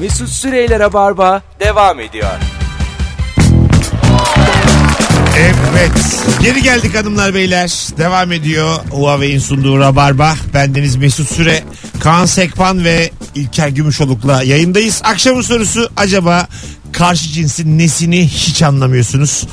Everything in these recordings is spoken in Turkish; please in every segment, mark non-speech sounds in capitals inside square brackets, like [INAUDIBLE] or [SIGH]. Mesut Süreyler'e barba devam ediyor. Evet. Geri geldik hanımlar beyler. Devam ediyor Huawei'in sunduğu Rabarba. Bendeniz Mesut Süre, Kaan Sekban ve İlker Gümüşoluk'la yayındayız. Akşamın sorusu acaba karşı cinsin nesini hiç anlamıyorsunuz?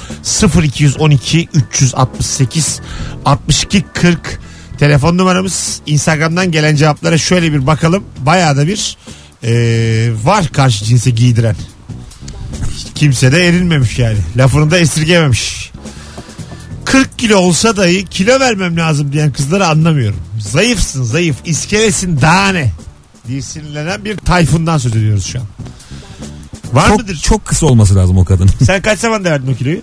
0212 368 62 40 telefon numaramız. Instagram'dan gelen cevaplara şöyle bir bakalım. Bayağı da bir eee, var karşı cinse giydiren. Kimse de erinmemiş yani. Lafını da esirgememiş. 40 kilo olsa dahi kilo vermem lazım diyen kızları anlamıyorum. Zayıfsın zayıf. iskelesin daha ne? Diye sinirlenen bir tayfundan söz ediyoruz şu an. Var Çok, mıdır? çok kısa olması lazım o kadının. [LAUGHS] Sen kaç zaman verdin o kiloyu?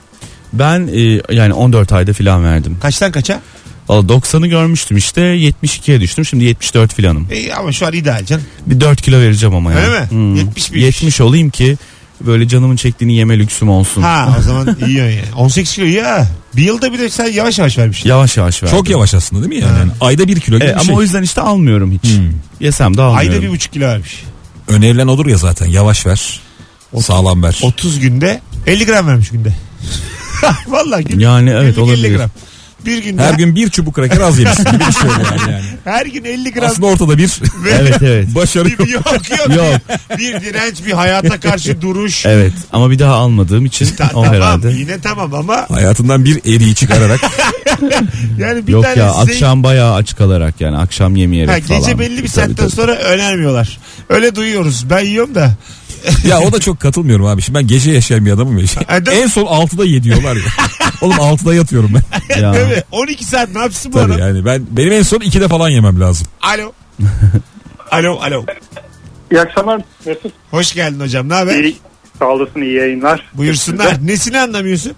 Ben e, yani 14 ayda filan verdim. Kaçtan kaça? Valla 90'ı görmüştüm işte 72'ye düştüm şimdi 74 filanım. E, ama şu an ideal can. Bir 4 kilo vereceğim ama ya. Öyle mi? Hmm. 70 mi? 70 olayım ki böyle canımın çektiğini yeme lüksüm olsun. Ha o zaman iyi yani. 18 kilo ya. Bir yılda bir de sen yavaş yavaş vermişsin. Yavaş yavaş verdim. Çok yavaş aslında değil mi yani? Yani ayda bir kilo gibi E, bir ama şey. o yüzden işte almıyorum hiç. Hmm. Yesem de almıyorum. Ayda bir buçuk kilo vermiş. Önerilen odur ya zaten yavaş ver. Sağlam ver. 30 günde 50 gram vermiş günde. [LAUGHS] Vallahi günde. Yani evet 50 olabilir. gram. Bir günde Her gün bir çubuk kraker az yemişsin gibi bir şey [LAUGHS] yani. yani. her gün 50 gram Aslında ortada bir [LAUGHS] Evet [LAUGHS] evet. [LAUGHS] başarı yok. Bir- yok yok. Yok. [LAUGHS] bir direnç bir hayata karşı duruş. Evet ama bir daha almadığım için Ta- o tamam herhalde. yine tamam ama Hayatından bir eriği çıkararak yani bir Yok tane ya size- akşam bayağı aç kalarak yani akşam yemeyerek Ha, falan. gece belli bir Tabii, saatten tabii. sonra önermiyorlar. Öyle duyuyoruz. Ben yiyorum da. ya o da çok katılmıyorum abi. Şimdi ben gece yaşayan bir [LAUGHS] adamım E, ya. Ha, değil mi? en son 6'da yediyorlar ya. Oğlum 6'da yatıyorum ben. Ya. Değil mi? 12 saat ne yapsın bu adam? Tabii yani ben benim en son 2'de falan yemem lazım. Alo. alo alo. İyi akşamlar Mesut. Hoş geldin hocam. Ne haber? İyi, sağ olasın iyi yayınlar. Buyursunlar. Nesini anlamıyorsun?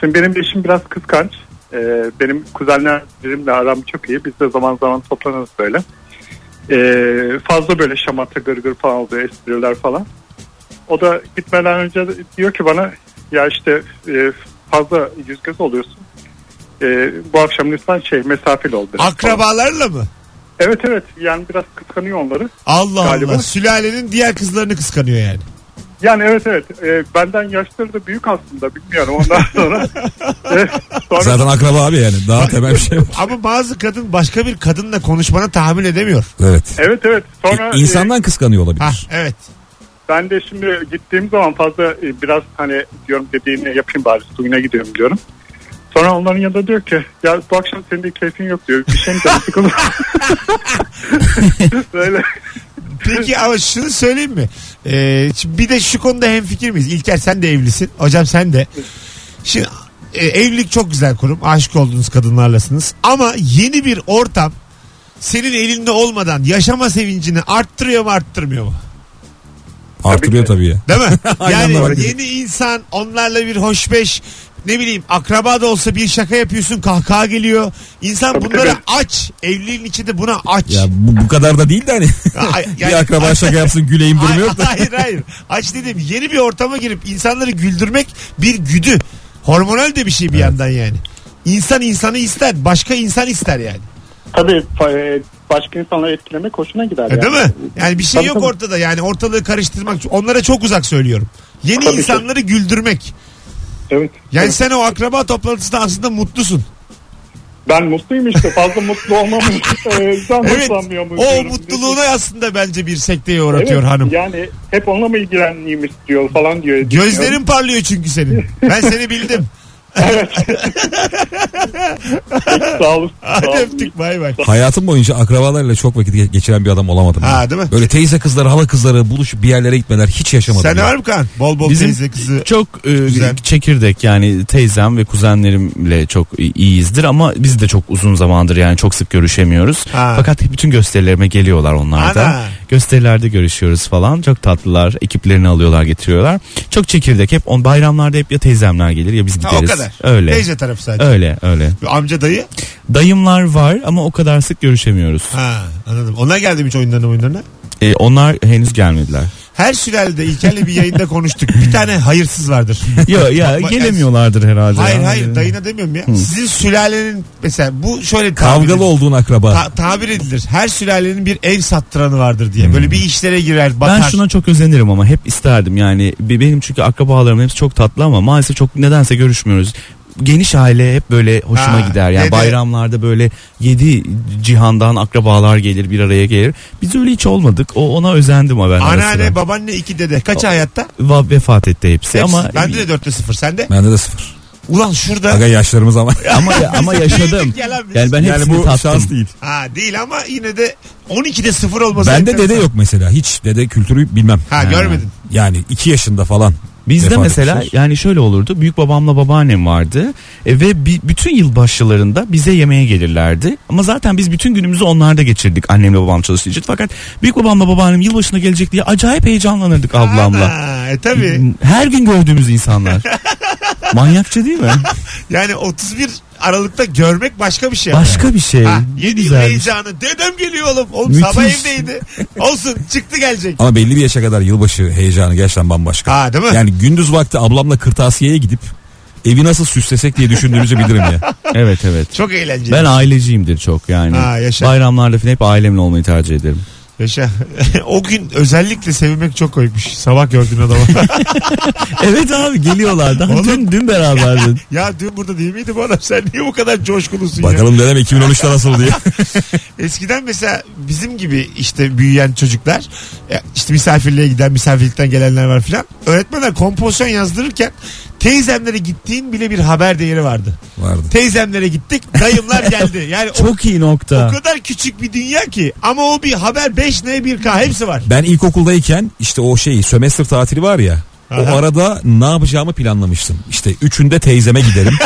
Şimdi benim eşim biraz kıskanç. Ee, benim kuzenlerimle aram çok iyi. Biz de zaman zaman toplanırız böyle. Ee, fazla böyle şamata gırgır falan oluyor espriler falan. O da gitmeden önce de diyor ki bana ya işte e, fazla yüz göz oluyorsun. Ee, bu akşam lütfen şey mesafeli ol. dedi. Akrabalarla mı? Evet evet yani biraz kıskanıyor onları. Allah Galiba. Allah. Sülalenin diğer kızlarını kıskanıyor yani. Yani evet evet Ee, benden yaşları da büyük aslında bilmiyorum ondan [LAUGHS] sonra. Ee, sonra Zaten akraba abi yani. Daha temel bir şey yok. Ama bazı kadın başka bir kadınla konuşmana tahammül edemiyor. Evet. Evet evet sonra İ- e, İnsandan kıskanıyor Ha olabilir. evet. ben de şimdi gittiğim zaman fazla e, biraz hani diyorum dediğini yapayım bari suyuna gidiyorum diyorum. Sonra onların yanında diyor ki ya bu akşam senin de keyfin yok diyor. Bir şey mi canı sıkıldı? [LAUGHS] [LAUGHS] Böyle. Peki ama şunu söyleyeyim mi? Ee, şimdi bir de şu konuda hemfikir miyiz? İlker sen de evlisin. Hocam sen de. Şimdi e, evlilik çok güzel kurum. Aşık olduğunuz kadınlarlasınız. Ama yeni bir ortam senin elinde olmadan yaşama sevincini arttırıyor mu arttırmıyor mu? Artırıyor tabii ya. Değil mi? [LAUGHS] Aynen yani öyle. yeni insan onlarla bir hoşbeş ne bileyim akraba da olsa bir şaka yapıyorsun kahkaha geliyor. İnsan Tabii, bunları tabii. aç. Evliliğin içi de buna aç. Ya bu, bu kadar da değil [LAUGHS] de hani. Ay, yani- [LAUGHS] bir akraba şaka yapsın güleyim [LAUGHS] durumu yok da. Hayır hayır. Aç dedim yeni bir ortama girip insanları güldürmek bir güdü. Hormonal de bir şey bir yandan yani. İnsan insanı ister. Başka insan ister yani. Tabii e, başka insanları etkilemek hoşuna gider. E, yani. Değil mi? Yani bir şey Tabii, yok tabii. ortada. Yani ortalığı karıştırmak. Onlara çok uzak söylüyorum. Yeni Tabii ki. insanları güldürmek. Evet. Yani sen o akraba toplantısında aslında mutlusun. Ben mutluyum işte fazla mutlu [LAUGHS] olmamı e, Evet. zannetmiyor muyum O diyorum. mutluluğunu aslında bence bir sekteye uğratıyor Evet, hanım. Yani hep onunla mı ilgileneyim istiyor falan diyor. Gözlerin parlıyor çünkü senin. Ben seni [LAUGHS] bildim. Sağ olun. Hadi sağ olun. öptük bay bay. Hayatım boyunca akrabalarla çok vakit ge- geçiren bir adam olamadım. Ha, ya. değil mi? Böyle teyze kızları, hala kızları buluşup bir yerlere gitmeler hiç yaşamadım. Sen ya. var mı kan? Bol bol Bizim teyze kızı. Çok e, Güzel. çekirdek yani teyzem ve kuzenlerimle çok i- iyiyizdir ama biz de çok uzun zamandır yani çok sık görüşemiyoruz. Ha. Fakat bütün gösterilerime geliyorlar onlar da. Ana. Gösterilerde görüşüyoruz falan. Çok tatlılar. Ekiplerini alıyorlar, getiriyorlar. Çok çekirdek. Hep on bayramlarda hep ya teyzemler gelir ya biz Ha, gideriz. o kadar. Öyle. Teyze tarafı sadece. Öyle, öyle. Amca dayı. Dayımlar var ama o kadar sık görüşemiyoruz. Ha anladım. Ona geldim hiç oyunlarına oyunlarına. [LAUGHS] E, onlar henüz gelmediler. He Her sülalede İlker'le bir yayında konuştuk. Bir tane hayırsız vardır. [LAUGHS] Yo, ya gelemiyorlardır herhalde. Hayır ya. hayır dayına demiyorum ya. Sizin sülalenin mesela bu şöyle tabir Kavgalı edilir. olduğun akraba. Ta- tabir edilir. Her sülalenin bir ev sattıranı vardır diye. Böyle bir işlere girer batar. Hmm. Ben şuna çok özenirim ama hep isterdim yani Be- benim çünkü akrabalarım hepsi çok tatlı ama maalesef çok nedense görüşmüyoruz. Geniş aile hep böyle hoşuma Ha, gider yani dede. bayramlarda böyle yedi cihandan akrabalar gelir bir araya gelir. Biz öyle hiç olmadık o ona özendim ama ben. ara Anneanne sıra. babaanne iki dede. Kaç hayatta? Va- vefat etti hepsi, Hepsi. ama e, Bende de dörtte sıfır. Sende? Bende de sıfır. Ulan şurada. Aga yaşlarımız ama. ama ama yaşadım. [LAUGHS] Büyüdük ya lan biz. Yani ben hepsini tattım. değil. Ha değil ama yine de 12'de sıfır olması. Bende enteresan. dede yok mesela. Hiç dede kültürü bilmem. Ha, görmedin. Yani iki yaşında falan. Bizde Vefat mesela etmişler. yani şöyle olurdu. Büyük babamla babaannem vardı E, ve bi- bütün yılbaşlarında bize yemeğe gelirlerdi. Ama zaten biz bütün günümüzü onlarda geçirdik annemle babam çalıştığı için. Fakat büyük babamla babaannem yılbaşına gelecek diye acayip heyecanlanırdık ablamla. Ha, e tabii. Her gün gördüğümüz [LAUGHS] insanlar. Manyakça değil mi? Yani 31 Aralık'ta görmek başka bir şey. [LAUGHS] Başka bir şey. Ha, Ne yedi yıl güzel. heyecanı. Dedem geliyor oğlum. Oğlum Müthiş. sabah evdeydi. Olsun çıktı gelecek. Ama belli bir yaşa kadar yılbaşı heyecanı gerçekten bambaşka. Ha değil mi? [LAUGHS] Yani gündüz vakti ablamla kırtasiyeye gidip evi nasıl süslesek diye düşündüğümüzü bilirim ya. Evet evet. Çok eğlenceli. Ben aileciyimdir çok yani. Ha, yaşa. Bayramlarda falan hep ailemle olmayı tercih [LAUGHS] ederim. Yaşa. o gün özellikle sevinmek çok koymuş. Sabah gördüğün [LAUGHS] adama. evet abi geliyorlar. Daha Oğlum. dün, dün [LAUGHS] beraberdin. ya dün burada değil miydi bu adam? Sen niye bu kadar coşkulusun ya? Bakalım dedem 2013'te nasıl diye. [LAUGHS] Eskiden mesela bizim gibi işte büyüyen çocuklar e, işte misafirliğe giden misafirlikten gelenler var filan. Öğretmenler kompozisyon yazdırırken teyzemlere gittiğin bile bir haber değeri vardı. Vardı. Teyzemlere gittik dayımlar [LAUGHS] geldi. Yani o- Çok iyi o, nokta. kadar küçük bir dünya ki ama o bir haber 5 ne 1 k hepsi var. Ben ilkokuldayken işte o şey sömestr tatili var ya. Aha. O arada ne yapacağımı planlamıştım. İşte üçünde teyzeme giderim.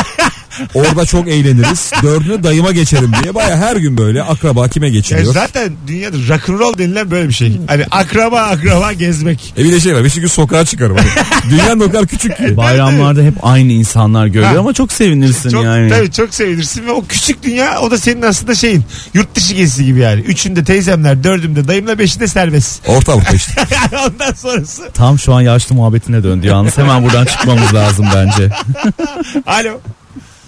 Orada çok eğleniriz. Dördünü dayıma geçerim diye. Baya her gün böyle akraba kime Yani geçiliyor. zaten dünyada rock'n'roll denilen böyle bir şey. Hani akraba akraba gezmek. E bir de şey var. Beşinci gün sokağa çıkarım. Hani Dünyanın o kadar küçük [LAUGHS] ki. Bayramlarda hep aynı insanlar görüyor Ha. ama çok sevinirsin Çok, yani. Tabii çok sevinirsin ve o küçük dünya o da senin aslında şeyin yurt dışı gezisi gibi yani. Üçünde teyzemler, dördümde dayımla, beşinde serbest. [LAUGHS] Ortalıkta işte. Ondan sonrası. Tam şu an yaşlı muhabbetine döndü yalnız. Hemen buradan çıkmamız lazım bence. Alo.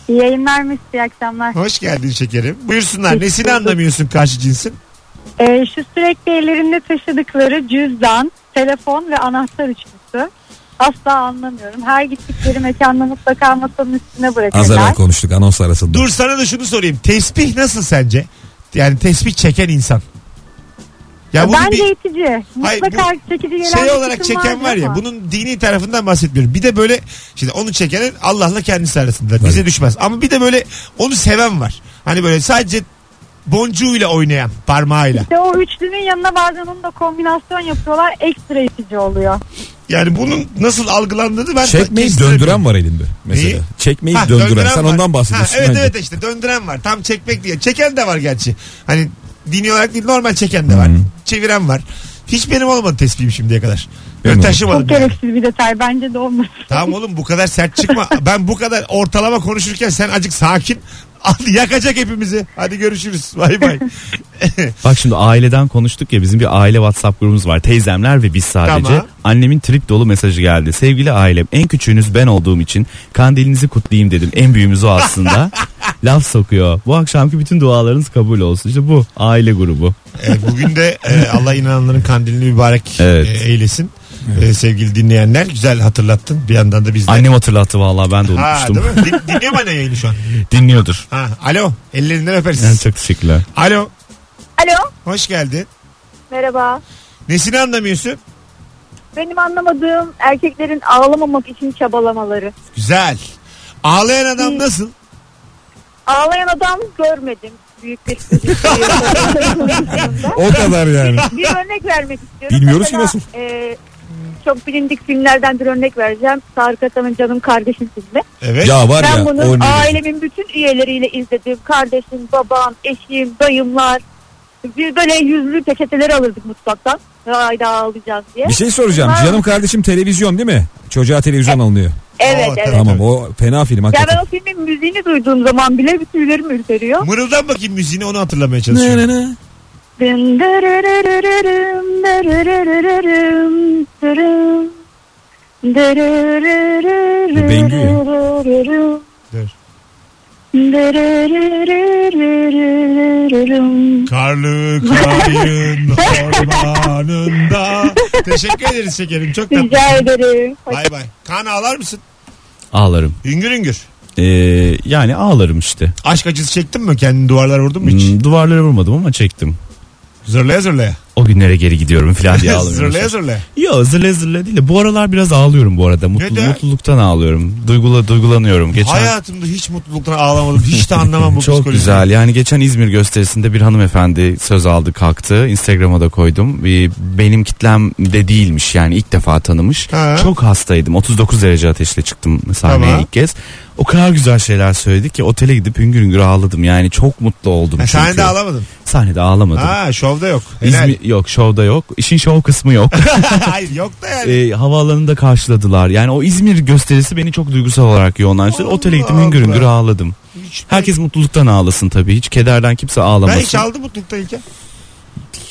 İyi yayınlar Mesut, iyi akşamlar. Hoş geldin şekerim. Buyursunlar. Nesini anlamıyorsun karşı cinsin? Ee, şu sürekli ellerinde taşıdıkları cüzdan, telefon ve anahtar üçlüsü. Asla anlamıyorum. Her gittikleri mekanda mutlaka masanın üstüne Az bırakırlar. evvel konuştuk anons arasında. Dur sana da şunu sorayım. Tesbih nasıl sence? Yani tesbih çeken insan. Ya bunu Bence bir itici. Hayır, Mutlaka çekici gelen şey bir olarak kısım çeken var ya. ama. Bunun dini tarafından bahsetmiyorum. Bir de böyle şimdi onu çekenin Allah'la kendisi arasında. Bize Tabii. düşmez. Ama bir de böyle onu seven var. Hani böyle sadece boncuğuyla oynayan parmağıyla. İşte o üçlünün yanına bazen onu da kombinasyon yapıyorlar. Ekstra itici oluyor. Yani bunun nasıl algılandığını ben Çekmeyi döndüren var elinde mesela. Neyi? Çekmeyi Ha, döndüren. döndüren Sen var. ondan bahsediyorsun. Ha, evet bence. evet işte döndüren var. Tam çekmek diye. Çeken de var gerçi. Hani dini olarak değil normal çeken de var. Hmm. Çeviren var. Hiç benim olmadı tespihim şimdiye kadar. Benim Ben oldu. taşımadım. Çok yani. gereksiz bir detay. Bence de olmasın. Tamam oğlum bu kadar sert çıkma. Ben bu kadar ortalama konuşurken sen acık sakin. Al, Yakacak hepimizi. Hadi görüşürüz. Bay bay. Bak şimdi aileden konuştuk ya bizim bir aile WhatsApp grubumuz var. Teyzemler ve biz sadece. Tamam. Annemin trip dolu mesajı geldi. Sevgili ailem en küçüğünüz ben olduğum için kandilinizi kutlayayım dedim. En büyüğümüz o [LAUGHS] aslında. Laf sokuyor. Bu akşamki bütün dualarınız kabul olsun. İşte bu aile grubu. E, bugün de e, Allah inananların kandilini mübarek Evet. e, eylesin. E, sevgili dinleyenler güzel hatırlattın. Bir yandan da biz de. Annem hatırlattı vallahi ben de Ha, unutmuştum. değil mi? Din, dinliyor mu anne yayını şu an? Dinliyordur. Ha, alo. Ellerinden öperiz. Yani çok teşekkürler. Alo. Alo. Hoş geldin. Merhaba. Nesini anlamıyorsun? Benim anlamadığım erkeklerin ağlamamak için çabalamaları. Güzel. Ağlayan Hmm. adam nasıl? Ağlayan adam görmedim. [LAUGHS] Büyük bir O kadar [LAUGHS] yani. bir örnek vermek istiyorum. Bilmiyoruz ki Mesela, nasıl. e, çok bilindik filmlerden bir örnek vereceğim. Tarık Akan'ın Canım Kardeşim filmi. Evet. Ya var Ben ya. bunu o ne- ailemin bütün üyeleriyle izledim. Kardeşim, babam, eşim, dayımlar. Biz böyle yüzlü peçeteleri alırdık mutfaktan. Hayda ağlayacağız diye. Bir şey soracağım. Bunlar- Canım kardeşim televizyon değil mi? Çocuğa televizyon alınıyor. Evet, Oo, evet. tabii. Tamam o fena film Ya ben hakikaten. o filmin müziğini duyduğum zaman bile bir tüylerim ürperiyor. Mırıldan bakayım müziğini onu hatırlamaya çalışıyorum. Dın dırırırırırım, dırırırırırım. Dırı, dırırırırırı, Bu Bengü ya. dırırırırırı. Dur. Dırırırırırırırırırım. Karlı [LAUGHS] kayın ormanında. Teşekkür ederiz şekerim. Çok tatlı. Rica ederim. Hoş- Bay bay. Kan ağlar mısın? Ağlarım. Üngür üngür. Ee, yani ağlarım işte. Aşk acısı çektin mi? Kendini duvarlara vurdun mu hiç? Hmm, duvarlara vurmadım ama çektim. Zırlaya zırlaya. O günlere geri gidiyorum falan [LAUGHS] diye ağlamıyorum. zırlaya zırlaya. Yo zırla zırla değil de bu aralar biraz ağlıyorum bu arada. Mutlu, Neden? mutluluktan ağlıyorum. Duygula duygulanıyorum. Geçen Hayatımda hiç mutluluktan ağlamadım. Hiç de anlamam bu Çok psikolojiyi. güzel. Yani geçen İzmir gösterisinde bir hanımefendi söz aldı kalktı. Instagram'a da koydum. Ee, Benim kitlem de değilmiş yani ilk defa tanımış. Ha. Çok hastaydım. 39 derece ateşle çıktım sahneye Tamam. ilk kez. O kadar güzel şeyler söyledi ki otele gidip hüngür hüngür ağladım. Yani çok mutlu oldum. Ha, çünkü. sen de ağlamadın. Sahnede ağlamadım. Ha şovda yok. Helal. İzmir, yok şovda yok. İşin şov kısmı [LAUGHS] yok. Hayır yok da yani. e, havaalanında karşıladılar. Yani o İzmir gösterisi beni çok duygusal olarak yoğunlaştırdı. Allah Otele gittim hüngür Allah. hüngür ağladım. Hiç- Ee, Herkes mutluluktan ağlasın tabii. Hiç kederden kimse ben ağlamasın. hiç aldım mutlulukta İlker.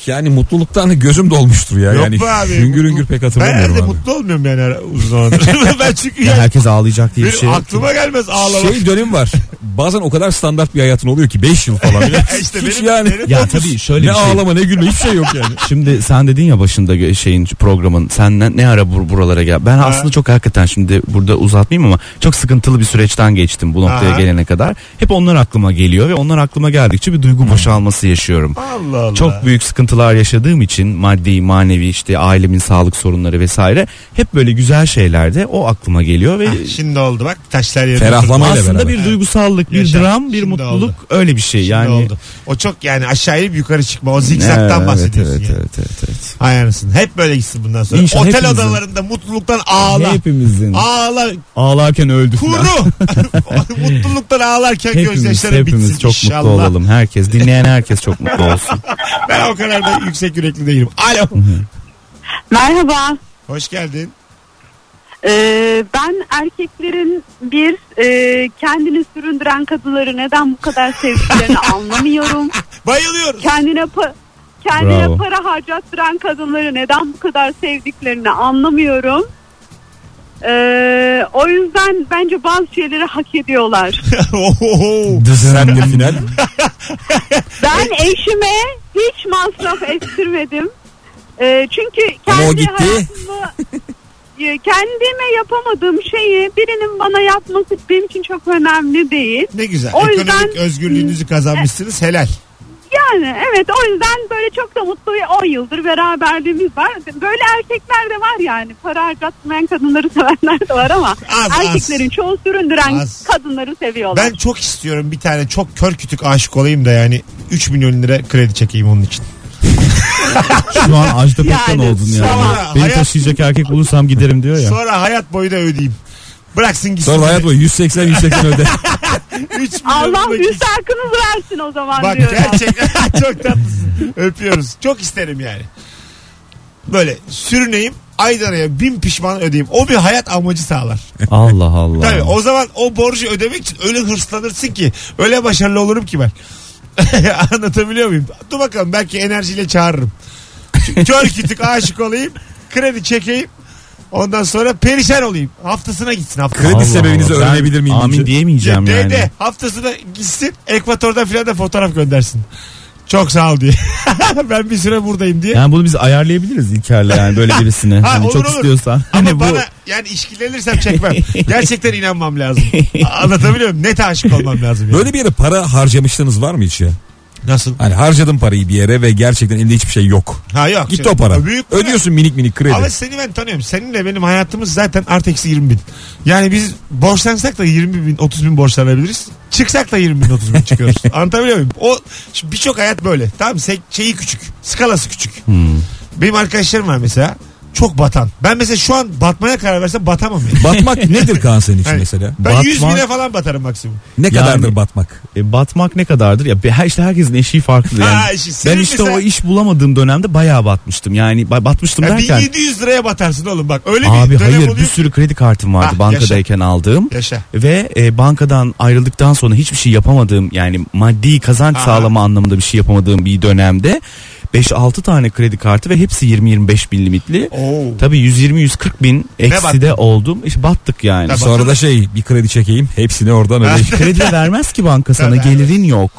Yani mutluluktan da gözüm dolmuştur ya. Yok yani be abi. hüngür hüngür Mutlu- pek Ben hatırlamıyorum herhalde abi. mutlu olmuyorum yani ara- [LAUGHS] uzun zamandır. ben çünkü Ya yani herkes ağlayacak diye bir benim şey. yok ki. aklıma gelmez ağlamak. Şey dönemi var. Bazen o kadar standart bir hayatın oluyor ki 5 [LAUGHS] yıl falan. işte Hiç benim, yani. benim Ya dokuz. tabii şöyle ne bir şey. ağlama ne gülme hiçbir şey yok yani. Şimdi sen dedin ya başında gö- şeyin programın sen ne, ne ara bur- buralara gel. Ben aslında çok hakikaten şimdi burada uzatmayayım ama çok sıkıntılı bir süreçten geçtim bu noktaya Aha. gelene kadar. Hep onlar aklıma geliyor ve onlar aklıma geldikçe bir duygu boşalması yaşıyorum. Allah Allah. Çok büyük sıkıntılar yaşadığım için maddi, manevi işte ailemin sağlık sorunları vesaire hep böyle güzel şeylerde o aklıma geliyor ve Ah, Şimdi oldu bak taşlar yerine Ferahlama oturdu. ile aslında beraber. bir duygusallık, bir Yaşa. dram, bir Şimdi mutluluk oldu. öyle bir şey Şimdi yani. oldu. O çok yani aşağı inip yukarı çıkma. O zikzaktan Evet, bahsediyorsun evet, yani. evet, evet, evet. Hay anasını. Hep böyle gitsin bundan sonra. İnşallah Otel hepimizin. odalarında mutluluktan ağla. Hepimizin Ağla. ağlarken öldük. lan. Kuru. [LAUGHS] mutluluktan [LAUGHS] ağlarken Hepimiz, gözyaşları bitsin hepimiz çok inşallah. mutlu olalım. Herkes dinleyen herkes çok mutlu [LAUGHS] olsun. Ben o kadar da yüksek yürekli değilim. Alo. Merhaba. Hoş geldin. Ee, ben erkeklerin bir e, kendini süründüren kadınları neden bu kadar [LAUGHS] sevdiklerini anlamıyorum. Bayılıyorum. Kendine pa- kendine Bravo. para harcattıran kadınları neden bu kadar sevdiklerini anlamıyorum. Ee, o yüzden bence bazı şeyleri [LAUGHS] hak ediyorlar. Ohoho. Sen de final. Ben eşime hiç masraf ettirmedim. Ee, çünkü Ama kendi o gitti. [LAUGHS] hayatımda e, kendime yapamadığım şeyi birinin bana yapması benim için çok önemli değil. ne güzel. O Ekonomik yüzden- özgürlüğünüzü kazanmışsınız. Helal. Yani evet o yüzden böyle çok da mutlu ve 10 yıldır beraberliğimiz var. Böyle erkekler de var yani. Para harcatmayan kadınları sevenler de var ama Az, az. erkeklerin çoğu süründüren Az. kadınları seviyorlar. Ben çok istiyorum bir tane çok kör kütük aşık olayım da yani 3 milyon lira kredi çekeyim onun için. Şu an Ajda Pekkan Yani, oldun yani. sonra Beni hayat- taşıyacak erkek bulursam giderim diyor ya. Sonra hayat boyu da ödeyeyim. Bıraksın gitsin. Sonra hayat boyu 180 [LAUGHS] 180 öde. 3 milyon Allah lira üst hakkınızı versin o zaman Bak diyorum. gerçekten [LAUGHS] çok tatlısın. Öpüyoruz. Çok isterim yani. Böyle sürüneyim Aydana'ya bin pişman ödeyeyim. O bir hayat amacı sağlar. Allah Allah. Tabii o zaman o borcu ödemek için öyle hırslanırsın ki öyle başarılı olurum ki ben. [LAUGHS] Anlatabiliyor muyum? Dur bakalım belki enerjiyle çağırırım. Çünkü Kör kütük aşık olayım. Kredi çekeyim. Ondan sonra perişan olayım. Haftasına gitsin haftasına. Kredi Allah sebebinizi Allah. Ben öğrenebilir miyim Amin önce? diyemeyeceğim de, yani. de, haftasına gitsin ekvatordan filan da fotoğraf göndersin. Çok sağ ol diye. [LAUGHS] ben bir süre buradayım diye. Yani bunu biz ayarlayabiliriz İlker'le yani [LAUGHS] böyle birisini. Ha, hani olur, çok olur. istiyorsan. Ama Hani bu bana yani işkillenirsem [LAUGHS] çekmem. Gerçekten inanmam lazım. Anlatabiliyor muyum? Net aşık olmam lazım. Yani. Böyle bir yere para harcamışlığınız var mı hiç ya? Nasıl? Hani harcadın parayı bir yere ve gerçekten elde hiçbir şey yok. Ha yok. Gitti Şimdi o para. Büyük para. Ödüyorsun minik minik kredi. Ama seni ben tanıyorum. Seninle benim hayatımız zaten artı eksi 20 bin. Yani biz borçlansak da 20 bin 30 bin borçlanabiliriz. Çıksak da 20 bin 30 bin çıkıyoruz. Anlatabiliyor muyum? O şimdi birçok hayat böyle. Tamam mı? Se- şeyi küçük. Skalası küçük. Benim arkadaşlarım var mesela. Çok batan. Ben mesela şu an batmaya karar versem batamam yani. [LAUGHS] Batmak nedir Kaan senin için Yani mesela? Ben 100 Batmak- bine falan batarım maksimum. Ne Yani- kadardır batmak? e, batmak ne kadardır ya be- her- işte herkesin eşiği farklı yani. Ha, işte senin ben işte mesela- o iş bulamadığım dönemde bayağı batmıştım. Yani ba- batmıştım Ya derken 1700 liraya batarsın oğlum bak. Öyle abi bir dönem hayır bir oluyor. sürü kredi kartım vardı Ah, bankadayken aldığım. Yaşa. Ve e, bankadan ayrıldıktan sonra hiçbir şey yapamadığım yani maddi kazanç Aha. sağlama anlamında bir şey yapamadığım bir dönemde 5-6 tane kredi kartı ve hepsi 20-25 bin limitli. Oo. Tabii 120-140 bin battı? eksi de oldum. İşte battık yani. Tabii. Sonra da şey bir kredi çekeyim hepsini oradan ödeyeyim. Kredi de vermez ki banka [LAUGHS] sana gelirin yok.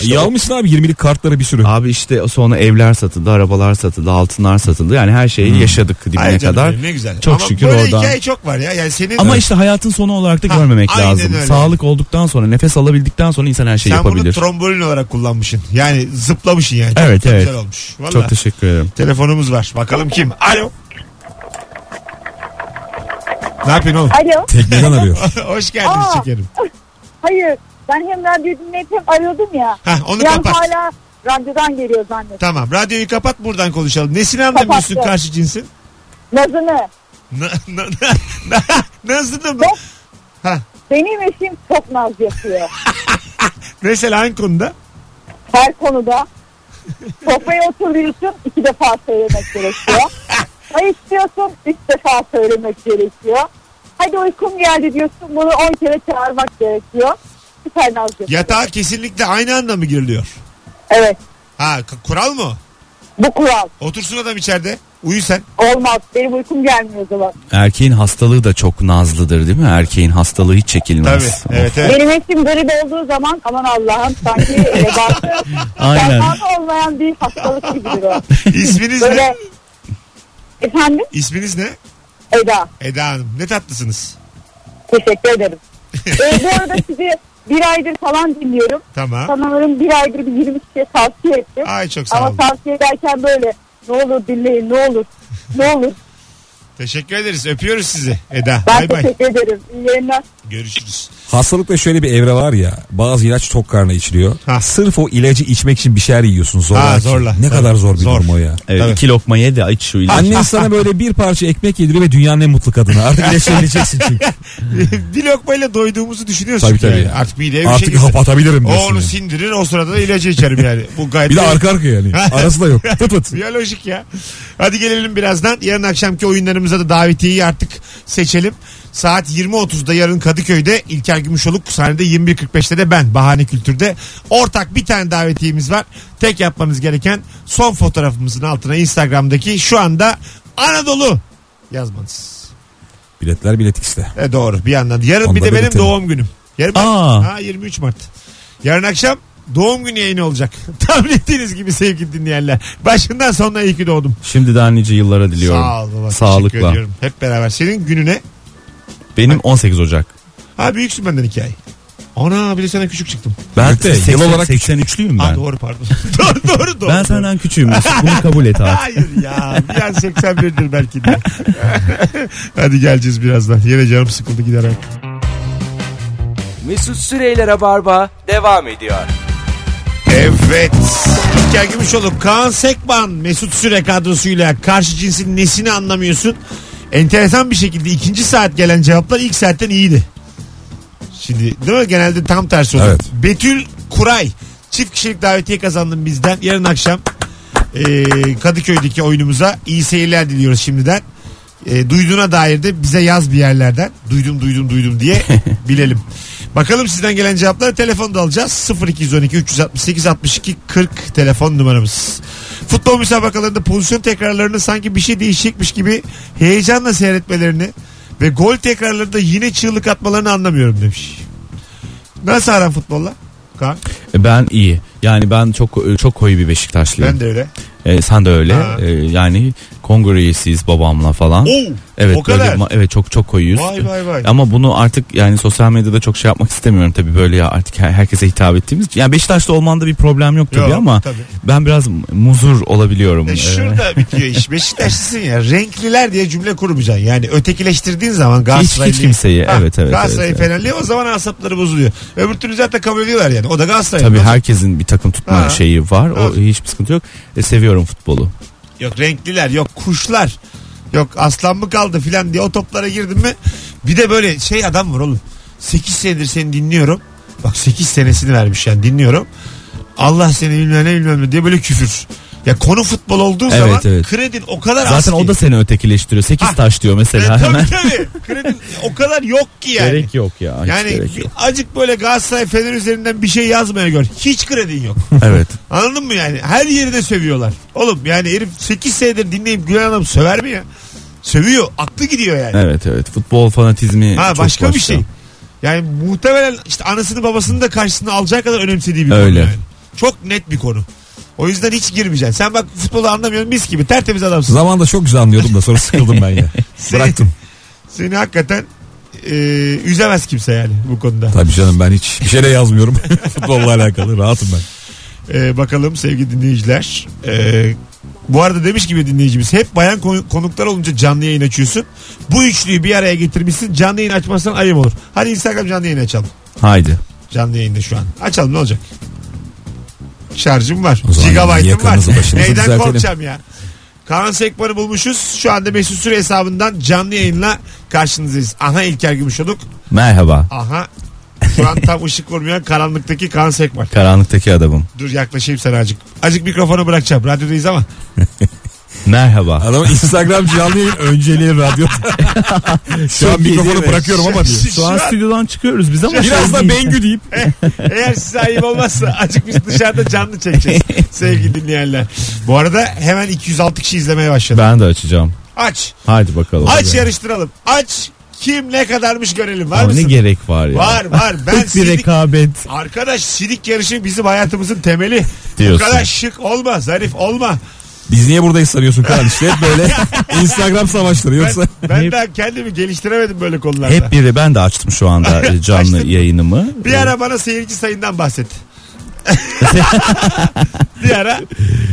İşte İyi o- almışsın abi 20'lik kartları [LAUGHS] bir sürü. Abi işte sonra evler satıldı, arabalar satıldı, altınlar satıldı. Yani her şeyi yaşadık dibine Ay Hmm. canım kadar. benim, ne güzel. Çok Ama şükür böyle oradan. hikaye çok var ya. Yani senin Ama işte hayatın sonu olarak da Ha, görmemek aynen lazım. öyle. Sağlık olduktan sonra, nefes alabildikten sonra insan her şeyi sen bunu yapabilir. trombolin olarak kullanmışsın. Yani zıplamışsın yani. Evet, çok evet. Güzel olmuş. Vallahi. Çok teşekkür ederim. Telefonumuz var. Bakalım kim? Alo. Ne yapıyorsun oğlum? [LAUGHS] Alo. Tekneden arıyor. Hoş geldiniz Aa. şekerim. Hayır. Ben hem radyo dinleyip hem arıyordum ya. Hah, onu Bir an kapat. hala radyodan geliyor zannettim. Tamam radyoyu kapat buradan konuşalım. Nesini anlamıyorsun Kapattım. karşı cinsin? Nazını. Na- na- na- [LAUGHS] Nasıl mı? Yok. Ha, Benim eşim çok naz yapıyor. mesela hangi konuda? Her konuda. Sofraya oturuyorsun iki defa [LAUGHS] söylemek gerekiyor. Ay istiyorsun üç defa söylemek gerekiyor. Hadi uykum geldi diyorsun bunu on kere çağırmak gerekiyor. Süper naz yapıyor. Yatağa kesinlikle aynı anda mı giriliyor? Evet. Ha k- kural mı? o? Bu kural. Otursun adam içeride. Uyu sen. Olmaz. Benim uykum gelmiyor o zaman. Erkeğin hastalığı da çok nazlıdır değil mi? Erkeğin hastalığı hiç Tabii. çekilmez. Evet evet. Benim eşim garip olduğu zaman aman Allah'ım sanki [LAUGHS] ebatı Aynen. ebatı olmayan bir hastalık gibidir o. İsminiz ne? Böyle efendim İsminiz ne? Eda Eda Hanım. Ne tatlısınız. teşekkür [LAUGHS] ederim. e, bu arada sizi bir aydır falan dinliyorum. Tamam. Sanırım bir aydır bir 20 kişiye tavsiye ettim. Ay çok sağ Ama olun. tavsiye ederken böyle ne olur dinleyin ne olur ne olur. Teşekkür ederiz. Öpüyoruz sizi Eda. Ben Bay bay. teşekkür ederim. İyi yayınlar. Görüşürüz. [LAUGHS] Hastalıkta şöyle bir evre var ya bazı ilaç tok karnına içiliyor. Ha. Sırf o ilacı içmek için bir şeyler yiyorsun zorla. Ha, zorla. Ne Tabii. kadar zor bir Zor. durum o ya. Evet, Tabii. iki lokma ye de aç şu ilacı. Annen sana böyle bir parça ekmek yediriyor ve dünyanın en mutlu kadını. Artık ilaçlayabileceksin çünkü. bir lokmayla doyduğumuzu düşünüyorsun. Tabii, tabii. Yani. Artık mideye bir Artık şey girdi. kapatabilirim O diyorsun. onu yani. sindirir o sırada da ilacı içerim yani. Bu gayet [LAUGHS] Bir de arka arkaya yani. Arası da yok. Pıt pıt. Biyolojik ya. Hadi gelelim birazdan. Yarın akşamki oyunlarımıza da davetiyeyi artık seçelim. Saat 20.30'da yarın Kadıköy'de İlker Gümüşoluk sahnede 21.45'te de ben Bahane Kültür'de. Ortak bir tane davetiyemiz var. Tek yapmanız gereken son fotoğrafımızın altına Instagram'daki şu anda Anadolu yazmanız. Biletler bilet X'te. E doğru bir yandan. Yarın Onu bir da de benim belirtelim. doğum günüm. Yarın bak- Aa. ha, 23 Mart. Yarın akşam doğum günü yayını olacak. [LAUGHS] Tahmin ettiğiniz gibi sevgili dinleyenler. Başından sonuna iyi ki doğdum. Şimdiden nice yıllara diliyorum. Sağ ol baba. Teşekkür Sağlıkla. ediyorum. Hep beraber. Senin gününe. Benim 18 Ocak. Ha büyüksün benden iki ay. Ana bir de sana küçük çıktım. Ben Evet de, yıl 80 olarak 83'lüyüm Ha ben. doğru pardon. [LAUGHS] doğru doğru doğru. Ben senden küçüğüm. Mesut. Bunu kabul et artık. Hayır ya. Bir an 81'dir belki de. [LAUGHS] Hadi geleceğiz birazdan. Yine canım sıkıldı gider artık. Mesut Süreyler'e barba devam ediyor. Evet. İlker Gümüşoluk, Kaan Sekban, Mesut Süre kadrosuyla karşı cinsin nesini anlamıyorsun? Enteresan bir şekilde ikinci saat gelen cevaplar ilk saatten iyiydi. Şimdi değil mi? Genelde tam tersi oluyor. Evet. Betül Kuray. Çift kişilik davetiye kazandın bizden. Yarın akşam e, Kadıköy'deki oyunumuza iyi seyirler diliyoruz şimdiden. E, duyduğuna dair de bize yaz bir yerlerden. Duydum duydum [LAUGHS] duydum diye bilelim. Bakalım sizden gelen cevapları telefonda alacağız. 0212 368 62 40 telefon numaramız. Futbol müsabakalarında pozisyon tekrarlarını sanki bir şey değişecekmiş gibi heyecanla seyretmelerini ve gol tekrarlarında yine çığlık atmalarını anlamıyorum demiş. Nasıl aran futbolla? Kaan? E, Ben iyi. Yani ben çok çok koyu bir Beşiktaşlıyım. Ben de öyle. Ee, sen de öyle. Ha. Ee, yani kongre üyesiyiz babamla falan. Oo, evet o kadar. böyle ma- evet çok çok koyuyuz. E, Vay vay vay. Ama bunu artık yani sosyal medyada çok şey yapmak istemiyorum tabii böyle ya artık her- herkese hitap ettiğimiz. için. Yani Beşiktaşlı olmanda bir problem yok tabii Yok, ama tabii. ben biraz muzur olabiliyorum. E Ee, şurada bitiyor iş. Beşiktaşlısın ya. Renkliler diye cümle kurmayacaksın. Yani ötekileştirdiğin zaman hiç, Galatasaraylı. hiç kimseyi Ha, evet evet. Galatasaray evet, evet. Fenerli o zaman asapları bozuluyor. Öbür türlü zaten kabul ediyorlar yani. O da Galatasaray. Tabii herkesin bir takım tutma Ha. şeyi var. O Evet. hiçbir sıkıntı yok. E, seviyorum futbolu. Yok renkliler yok kuşlar. Yok aslan mı kaldı filan diye o toplara girdim mi? Bir de böyle şey adam var oğlum. 8 senedir seni dinliyorum. Bak 8 senesini vermiş yani dinliyorum. Allah seni bilmem ne bilmem ne diye böyle küfür. Ya konu futbol olduğu Evet, zaman evet. kredin o kadar az Zaten ki. o da seni ötekileştiriyor. 8 taş diyor Ya mesela E, tabii hemen. tabii. Kredin o kadar yok ki yani. Gerek yok ya. Hiç yani gerek yok. acık böyle Galatasaray Fener üzerinden bir şey yazmaya gör. Hiç kredin [LAUGHS] yok. Evet. Anladın mı yani? Her yerine sövüyorlar. Oğlum yani herif 8 senedir dinleyip Gülen Hanım söver mi ya? Sövüyor. Aklı gidiyor yani. Evet evet. Futbol fanatizmi Ha çok başka, bir şey. Yani muhtemelen işte anasını babasını da karşısına alacak kadar önemsediği bir Öyle. konu yani. Çok net bir konu. O yüzden hiç girmeyeceksin. Sen bak futbolu anlamıyorsun mis gibi tertemiz adamsın. Zamanında çok güzel anlıyordum da sonra sıkıldım ben ya. Seni- Bıraktım. Seni hakikaten e, üzemez kimse yani bu konuda. Tabii canım ben hiç bir şey de yazmıyorum. [LAUGHS] Futbolla alakalı rahatım ben. E, bakalım sevgili dinleyiciler. E, bu arada demiş gibi dinleyicimiz hep bayan konu- konuklar olunca canlı yayın açıyorsun. Bu üçlüyü bir araya getirmişsin canlı yayın açmazsan ayıp olur. Hadi Instagram canlı yayın açalım. Haydi. Canlı yayında şu an. Açalım ne olacak? Şarjım var. O zaman Gigabyte'ım yakınınızı var. başınıza Neyden düzeltelim. korkacağım ya? Kaan Sekman'ı bulmuşuz. Şu anda Mesut Süre hesabından canlı yayınla karşınızdayız. Aha İlker Gümüşoluk. Merhaba. Aha şu an tam ışık vurmayan karanlıktaki Kaan Sekman. Karanlıktaki adamım. Dur yaklaşayım sana azıcık. Azıcık mikrofonu bırakacağım. Radyodayız ama. Merhaba. Adam Instagram canlı yayın önceliği [LAUGHS] radyo. Şu an Çok iyi mikrofonu değil mi? bırakıyorum ama diyor. Şu an stüdyodan çıkıyoruz biz ama. Biraz da Bengü deyip. Eğer size ayıp olmazsa azıcık biz dışarıda canlı [LAUGHS] çekeceğiz. Sevgili dinleyenler. Bu arada hemen 206 kişi izlemeye başladı. Ben de açacağım. Aç. Haydi bakalım. Aç yarıştıralım. Aç kim ne kadarmış görelim. Var Ama ne mısın? gerek var ya? var [LAUGHS] var. Ben Tık bir sidik... rekabet. Arkadaş sidik yarışı bizim hayatımızın temeli. Bu Diyorsun. kadar şık olma zarif olma. Biz niye buradayız sanıyorsun Kaan işte hep [LAUGHS] böyle Instagram savaşları yoksa. Ben Hep- daha kendimi geliştiremedim böyle konularda. Hep biri ben de açtım şu anda e, canlı Açtın. yayınımı. Bir ara bana seyirci sayından bahset. bir ara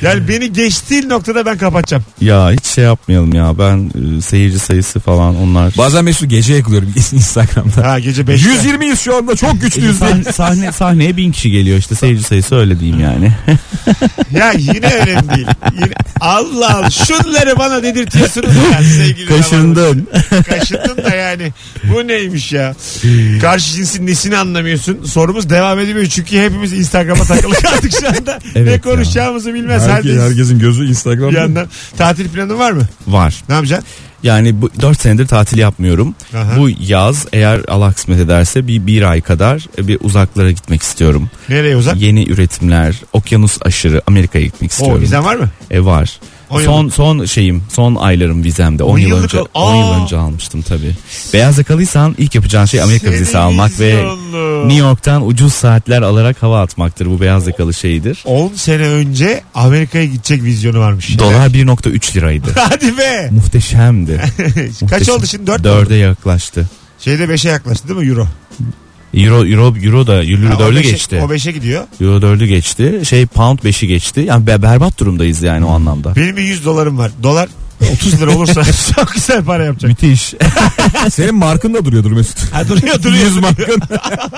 yani beni geçtiği noktada ben kapatacağım. Ya hiç şey yapmayalım ya. Ben e, seyirci sayısı falan onlar. Bazen Mesut gece yakılıyorum [LAUGHS] Instagram'da. Ha gece 5. 120'yiz şu anda çok güçlüyüz diye. Sahne, E, sahne, sahneye bin kişi geliyor işte seyirci sayısı öyle diyeyim yani. Ya yine önemli değil. Yine... Allah Allah şunları bana dedirtiyorsunuz ya sevgili Kaşındın. Kaşındın da yani. Bu neymiş ya? Karşı cinsin nesini anlamıyorsun? Sorumuz devam edemiyor. Çünkü hepimiz Instagram'a takılı kaldık şu anda. Evet ne ya. konuşacağımızı bilmez Herkes, haldeyiz. herkesin gözü Bir Instagram'da. yandan tatil planın var mı? Var. Ne yapacaksın? Yani bu 4 senedir tatil yapmıyorum. Aha. Bu yaz eğer Allah kısmet ederse bir bir ay kadar e, bir uzaklara gitmek istiyorum. Nereye uzak? Yeni üretimler, okyanus aşırı Amerika'ya gitmek O istiyorum. vizen var mı? E var. On son son şeyim, son aylarım vizemde. 10 On yıl yıllık önce 10 al- Aa! yıl önce almıştım tabii. Beyaz yakalıysan ilk yapacağın şey Amerika Seni vizesi almak ve vizyonlu. New York'tan ucuz saatler alarak hava atmaktır. Bu beyaz yakalı şeyidir. 10 sene önce Amerika'ya gidecek vizyonu varmış. Dolar 1.3 liraydı. [LAUGHS] Hadi be. Muhteşemdi. Kaç Muhteşem. oldu şimdi? 4 mü? 4'e yaklaştı. Şeyde 5'e yaklaştı değil mi euro? Euro Euro Euro da Euro Ha, o 4'ü beşe- geçti. O 5'e gidiyor. Euro 4'ü geçti. Şey pound 5'i geçti. Yani be- berbat durumdayız yani o anlamda. Benim bir 100 dolarım var. Dolar 30 lira olursa [LAUGHS] çok güzel para yapacak. Müthiş. Senin markın da duruyordur Mesut. Ha, duruyor duruyor. 100 markın. [LAUGHS]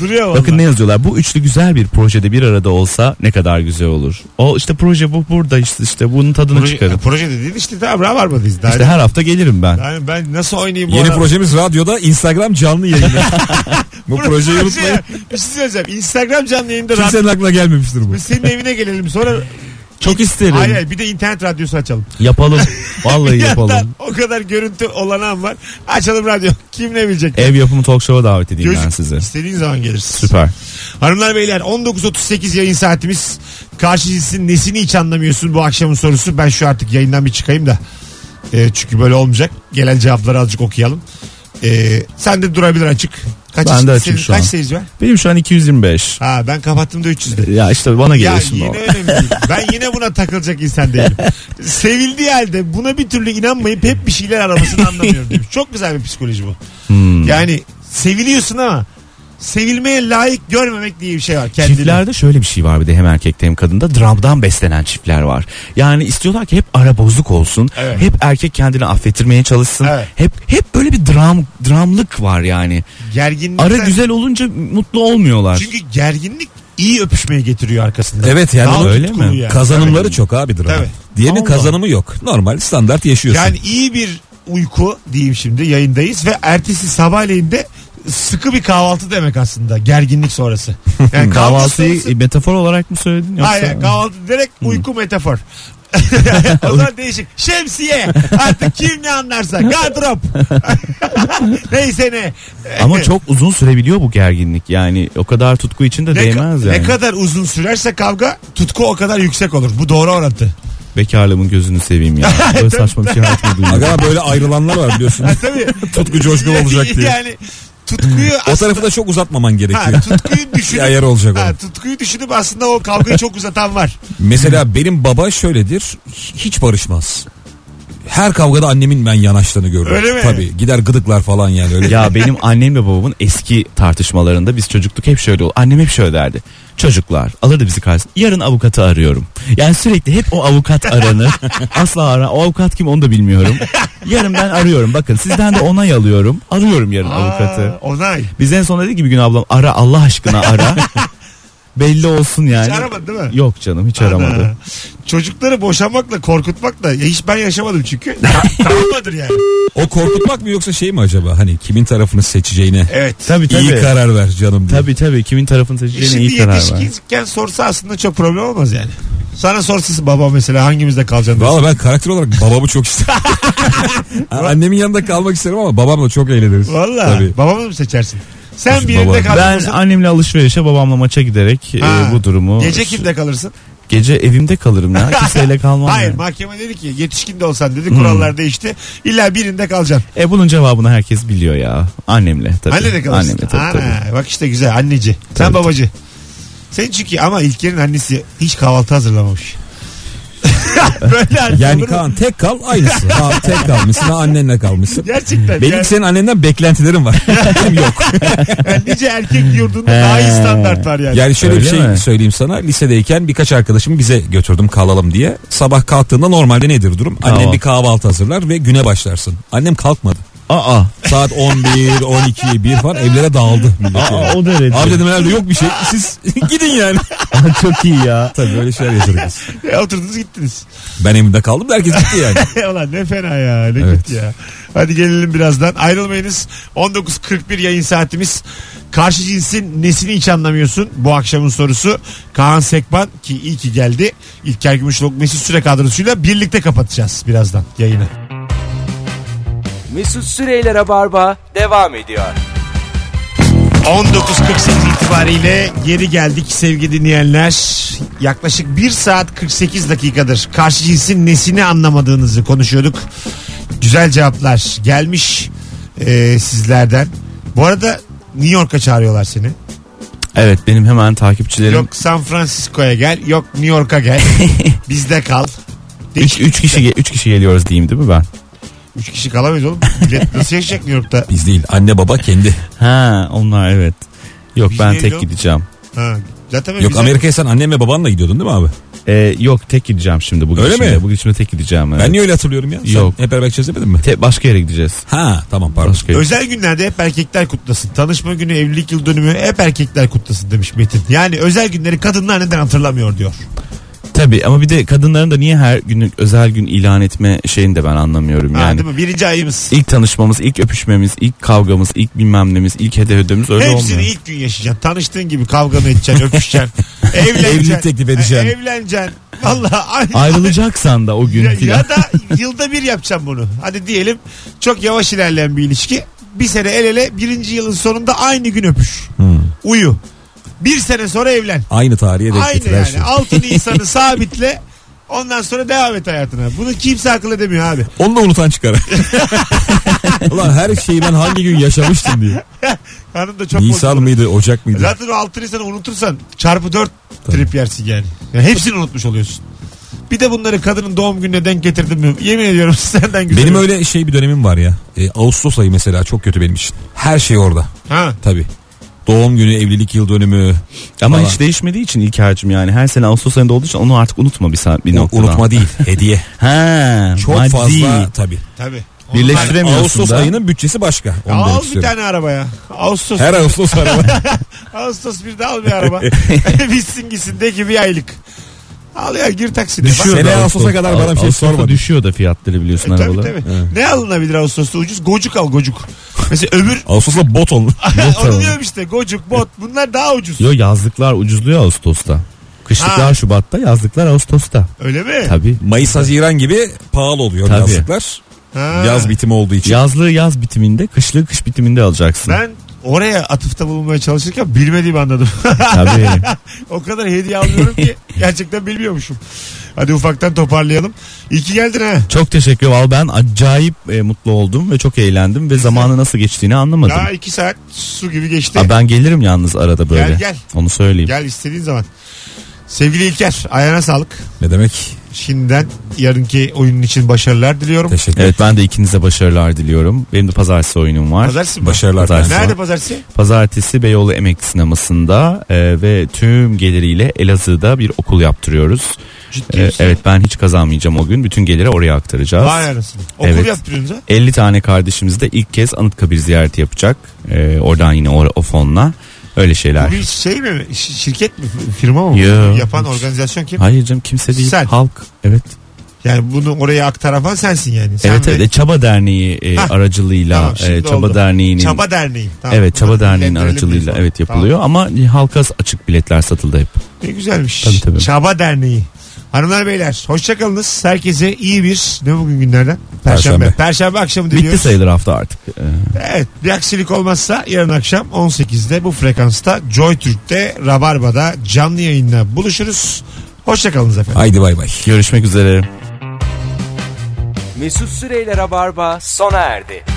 duruyor valla. Bakın ne yazıyorlar. Bu üçlü güzel bir projede bir arada olsa ne kadar güzel olur. O işte proje bu burada işte, işte bunun tadını proje, çıkarın. proje dediğin işte tamam rabarmadayız. Daha, İşte her hafta gelirim ben. yani ben nasıl oynayayım bu Yeni adam- projemiz radyoda Instagram [LAUGHS] canlı yayını. Bu Proje- projeyi proje ya. unutmayın. Bir şey söyleyeceğim. Instagram canlı yayında radyo. Kimsenin aklına gelmemiştir bu. Biz senin evine gelelim sonra. Çok isterim. Hayır hayır bir de internet radyosu açalım. [LAUGHS] Yapalım. Vallahi Yandan yapalım. o kadar görüntü olanağım var. Açalım radyo. Kim ne bilecek? Ev yapımı talk show'a davet edeyim ben Gözük- sizi. İstediğin zaman gelirsin. Süper. Hanımlar beyler 19.38 yayın saatimiz. Karşı cinsin nesini hiç anlamıyorsun bu akşamın sorusu. Ben şu artık yayından bir çıkayım da. Ee, çünkü böyle olmayacak. Gelen cevapları azıcık okuyalım. Ee, sen de durabilir açık. Kaç Ben de senin- açım şu Kaç an. seyirci var? Benim şu an 225. Ha ben kapattım da 300'de. Ya işte bana Ya gelir şimdi yine o. önemli değil. Ben yine buna takılacak [LAUGHS] insan değilim. Sevildiği halde buna bir türlü inanmayıp hep bir şeyler aramasını anlamıyorum demiş. Çok güzel bir psikoloji bu. Hmm. Yani seviliyorsun ama sevilmeye layık görmemek diye bir şey var kendine. Çiftlerde şöyle bir şey var bir de hem erkekte hem kadında dramdan beslenen çiftler var. Yani istiyorlar ki hep ara bozuk olsun. Evet. Hep erkek kendini affettirmeye çalışsın. Evet. Hep hep böyle bir dram dramlık var yani. Gerginlikten. Ara güzel olunca mutlu olmuyorlar. Çünkü gerginlik iyi öpüşmeye getiriyor arkasında. Evet yani Daha o- öyle tutkulu mi? Yani. Kazanımları çok abidir. ama. Tabii. Diğerinin Allah. kazanımı yok. Normal standart yaşıyorsun. Yani iyi bir uyku diyeyim şimdi yayındayız ve ertesi sabahleyin de sıkı bir kahvaltı demek aslında gerginlik sonrası. [LAUGHS] Yani Kahvaltıyı sonrası- metafor olarak mı söyledin yoksa? Aynen kahvaltı direkt uyku [LAUGHS] metafor. o zaman değişik. Şemsiye. Artık kim ne anlarsa. Gardırop. [LAUGHS] Neyse ne. Ama çok uzun sürebiliyor bu gerginlik yani o kadar tutku içinde ne, değmez yani. ne kadar uzun sürerse kavga tutku o kadar yüksek olur. Bu doğru orantı. Bekarlığımın gözünü seveyim [LAUGHS] ya. Böyle saçma bir şey hayatımda duymadım. Aga böyle ayrılanlar var biliyorsun. Tabii. [LAUGHS] Tutku coşkun olacak diye. Yani tutkuyu O aslında- tarafı da çok uzatmaman Ha, gerekiyor. [LAUGHS] tutkuyu düşünüp ayar olacak ha, onun. tutkuyu düşünüp aslında o kavgayı çok uzatan [LAUGHS] var. Mesela benim baba şöyledir. Hiç barışmaz. Her kavgada annemin ben yanaştığını görürüm. Öyle mi? Tabii gider gıdıklar falan yani öyle. Ya [LAUGHS] benim annemle babamın eski tartışmalarında biz çocukluk hep şöyle oldu. Annem hep şöyle derdi. Çocuklar alırdı bizi karşısına. Yarın avukatı arıyorum. Yani sürekli hep o avukat [LAUGHS] aranır. Asla ara. O avukat kim onu da bilmiyorum. Yarın ben arıyorum. Bakın sizden de onay alıyorum. Arıyorum yarın avukatı. Aa, onay. Biz en son dedik ki bir gün ablam ara Allah aşkına [LAUGHS] ara. Belli olsun Hani yani. aramadı değil mi? Yok canım hiç aramadı. Ana. Çocukları boşamakla korkutmakla ya hiç ben yaşamadım [LAUGHS] çünkü. Ta- Travmadır yani. O korkutmak mı yoksa şey mi acaba? Hani kimin tarafını seçeceğine Evet. Tabii tabii. iyi karar ver canım. diye. Tabii tabii kimin tarafını E seçeceğine iyi Şimdi karar ver. yetişkinken sorsa aslında çok problem olmaz yani. Sana sorsa baba mesela hangimizde kalacaksın? dersin. Valla ben karakter olarak babamı çok isterim. Annemin yanında kalmak isterim ama babamla çok eğleniriz. Valla. Tabii. Babamı mı seçersin? Sen Baba. birinde Ben kalacaksın. annemle alışverişe babamla maça giderek e, Ha. bu durumu Gece kimde kalırsın? Gece evimde kalırım [LAUGHS] ya. Kimseyle kalmam. Hayır ya. mahkeme dedi ki yetişkin de olsan Hmm. dedi kurallar değişti. İlla birinde kalacaksın. E bunun cevabını herkes biliyor ya. Annemle tabii. Annede kalırsın. Annemle tabii, Ana, tabii. Bak işte güzel anneci. Sen Tabii, babacı. Sen çünkü ama İlker'in annesi hiç kahvaltı hazırlamamış. [LAUGHS] Böyle anne Yani olur mu? Kaan tek kal aynısı. Ha, tek kalmışsın ha annenle kalmışsın. Gerçekten. [LAUGHS] Benim yani, senin annenden beklentilerim var. Benim yok. yani nice erkek yurdunda daha iyi standart var yani. Yani şöyle Öyle bir şey mi? söyleyeyim sana. Lisedeyken birkaç arkadaşımı bize götürdüm kalalım diye. Sabah kalktığında normalde nedir durum? Annem Kahvaltı. bir kahvaltı hazırlar ve güne başlarsın. Annem kalkmadı. Aa. Saat 11, 12, 1 falan evlere dağıldı. millet yani. Aa, o derece. Abi dedim herhalde yok bir şey. Siz [LAUGHS] gidin yani. [LAUGHS] Çok iyi ya. Tabii öyle şeyler yaşadık biz. E, Oturdunuz gittiniz. [LAUGHS] E, Ben evimde kaldım da herkes gitti [LAUGHS] yani. Ulan ne fena ya ne Evet. kötü ya. Hadi gelelim birazdan ayrılmayınız. 19.41 yayın saatimiz. Karşı cinsin nesini hiç anlamıyorsun bu akşamın sorusu. Kaan Sekban ki iyi ki geldi. İlker Gümüşoluk Mesut Süre kadrosuyla birlikte kapatacağız birazdan yayını. Mesut Süreyler'e barba devam ediyor. 19.48 itibariyle geri geldik sevgili dinleyenler. Yaklaşık 1 saat 48 dakikadır karşı cinsin nesini anlamadığınızı konuşuyorduk. Güzel cevaplar gelmiş e, sizlerden. Bu arada New York'a çağırıyorlar seni. Evet benim hemen takipçilerim. Yok San Francisco'ya gel, yok New [LAUGHS] York'a gel. Bizde kal. Üç, üç kişi şey. ge- üç kişi geliyoruz diyeyim değil mi ben? 3 kişi kalamayız oğlum. Millet nasıl yaşayacak New York'ta? Biz değil anne baba kendi. Ha onlar evet. Yok Biz ben geliyor. tek gideceğim. Ha, zaten Yok bize- Amerika'ya sen annem ve babanla gidiyordun değil mi abi? Ee, yok tek gideceğim şimdi bugün. Öyle şimdi. mi? Bugün şimdi tek gideceğim. evet. Ben niye öyle hatırlıyorum ya? Sen Yok. Hep beraber çözemedin mi? Te- başka yere gideceğiz. Ha tamam pardon. Başka yere. Özel günlerde hep erkekler kutlasın. Tanışma günü, evlilik yıl dönümü hep erkekler kutlasın demiş Metin. Yani özel günleri kadınlar neden hatırlamıyor diyor. Tabii ama bir de kadınların da niye her günlük özel gün ilan etme şeyini de ben anlamıyorum Ha, yani. değil mi? Birinci ayımız. İlk tanışmamız, ilk öpüşmemiz, ilk kavgamız, ilk bilmem nemiz, ilk hediye ödemiz öyle Hepsini olmuyor. ilk gün yaşayacaksın. Tanıştığın gibi kavganı edeceksin, öpüşeceksin. [LAUGHS] evleneceksin. Evlilik teklif edeceksin. E, Evleneceksin. Valla Ayrılacaksan da o gün ya, filan. ya da [LAUGHS] yılda bir yapacaksın bunu. Hadi diyelim çok yavaş ilerleyen bir ilişki. Bir sene el ele birinci yılın sonunda aynı gün öpüş. Hmm. Uyu. Bir sene sonra evlen. Aynı tarihe denk Aynı getir yani. her şey. Altın insanı [LAUGHS] sabitle ondan sonra devam et hayatına. Bunu kimse akıl edemiyor abi. Onu da [LAUGHS] unutan çıkar. Ulan her şeyi ben hangi gün yaşamıştım diye. Hanım da [LAUGHS] çok Nisan bozulur. mıydı, Ocak mıydı? Zaten o altın insanı unutursan çarpı 4 trip yersin yani. yani. Hepsini unutmuş oluyorsun. Bir de bunları kadının doğum gününe denk getirdin mi? Yemin ediyorum [LAUGHS] senden güzel. Benim olur. öyle şey bir dönemim var ya. E, Ağustos ayı mesela çok kötü benim için. Her şey orada. Ha. Tabii. Doğum günü, evlilik yıl dönümü. Ama falan. hiç değişmediği için İlker'cim yani her sene Ağustos ayında olduğu için onu artık unutma bir saat bir U- noktadan. unutma değil, hediye. Ha, Çok maddi. fazla tabii. Tabii. Birleştire- Onlar- Yani Süremiyorsun Ağustos da. ayının bütçesi başka. Onu Ya demek al bir istiyorum. tane araba ya. Ağustos. Her Ağustos araba. [LAUGHS] [LAUGHS] Ağustos bir de al bir araba. Bitsin gitsin de ki bir aylık. Al ya gir takside. Düşüyor. Bak- Seneye Ağustos'a kadar bana bir şey Ağustos'ta sormadın. düşüyor da fiyatları biliyorsun E, Tabii arabalar. tabii. Ne alınabilir Ağustos'ta ucuz? Gocuk al gocuk. Mesela öbür [LAUGHS] Ağustos'ta bot olun. [LAUGHS] onu diyorum işte gocuk bot bunlar daha ucuz. Yo yazlıklar ucuzluyor Ağustos'ta. Kışlıklar Ha. Şubat'ta, yazlıklar Ağustos'ta. Öyle mi? Tabii. Mayıs Haziran gibi pahalı oluyor Tabii. yazlıklar. Ha. Yaz bitimi olduğu için. Yazlığı yaz bitiminde, kışlığı kış bitiminde alacaksın. Ben oraya atıfta bulunmaya çalışırken bilmediğimi anladım. [LAUGHS] Tabii. o kadar hediye [LAUGHS] alıyorum ki gerçekten bilmiyormuşum. Hadi ufaktan toparlayalım. İyi ki geldin ha. çok teşekkür ederim. Ben acayip e, mutlu oldum ve çok eğlendim ve zamanı nasıl geçtiğini anlamadım. Daha iki saat su gibi geçti. Ha, ben gelirim yalnız arada böyle. Gel, gel. Onu söyleyeyim. Gel istediğin zaman. Sevgili İlker ayağına sağlık. Ne demek? Şimdiden yarınki oyunun için başarılar diliyorum. Teşekkür Evet ben de ikinize başarılar diliyorum. Benim de pazartesi oyunum var. Pazartesi mi? Başarılar. Pazartesi. Nerede pazartesi? Pazartesi Beyoğlu Emekli Sineması'nda e, ve tüm geliriyle Elazığ'da bir okul yaptırıyoruz. Ciddi E, misin? evet ben hiç kazanmayacağım o gün. Bütün geliri oraya aktaracağız. Vay anasını. Okul Evet. yaptırıyorsunuz ha? 50 tane kardeşimiz de ilk kez Anıtkabir ziyareti yapacak. E, oradan yine o, o fonla. Öyle şeyler. Bu bir şey mi? Ş- şirket mi? Firma mı? Yo. Yapan organizasyon kim? Hayır canım kimse değil. Sen. Halk. Evet. Yani bunu oraya aktaran falan sensin yani. Sen evet ve- evet. E, Çaba Derneği e, Hah. aracılığıyla Tamam, şimdi e, Çaba oldu. Derneği'nin Çaba Derneği. Tamam. Evet Çaba Bunlar Derneği'nin bilenlerle aracılığıyla biliriz. evet Tamam. yapılıyor ama halka açık biletler satıldı hep. Ne güzelmiş. Tabii, tabii. Çaba Derneği. Hanımlar beyler hoşçakalınız. Herkese iyi bir ne bugün günlerden? Perşembe. Perşembe, Perşembe. akşamı Bitti diliyoruz. sayılır hafta artık. E, Evet bir aksilik olmazsa yarın akşam 18'de bu frekansta Joy Türk'te Rabarba'da canlı yayınla buluşuruz. Hoşçakalınız efendim. Haydi bay bay. görüşmek üzere. Mesut Süreyler'e barba sona erdi.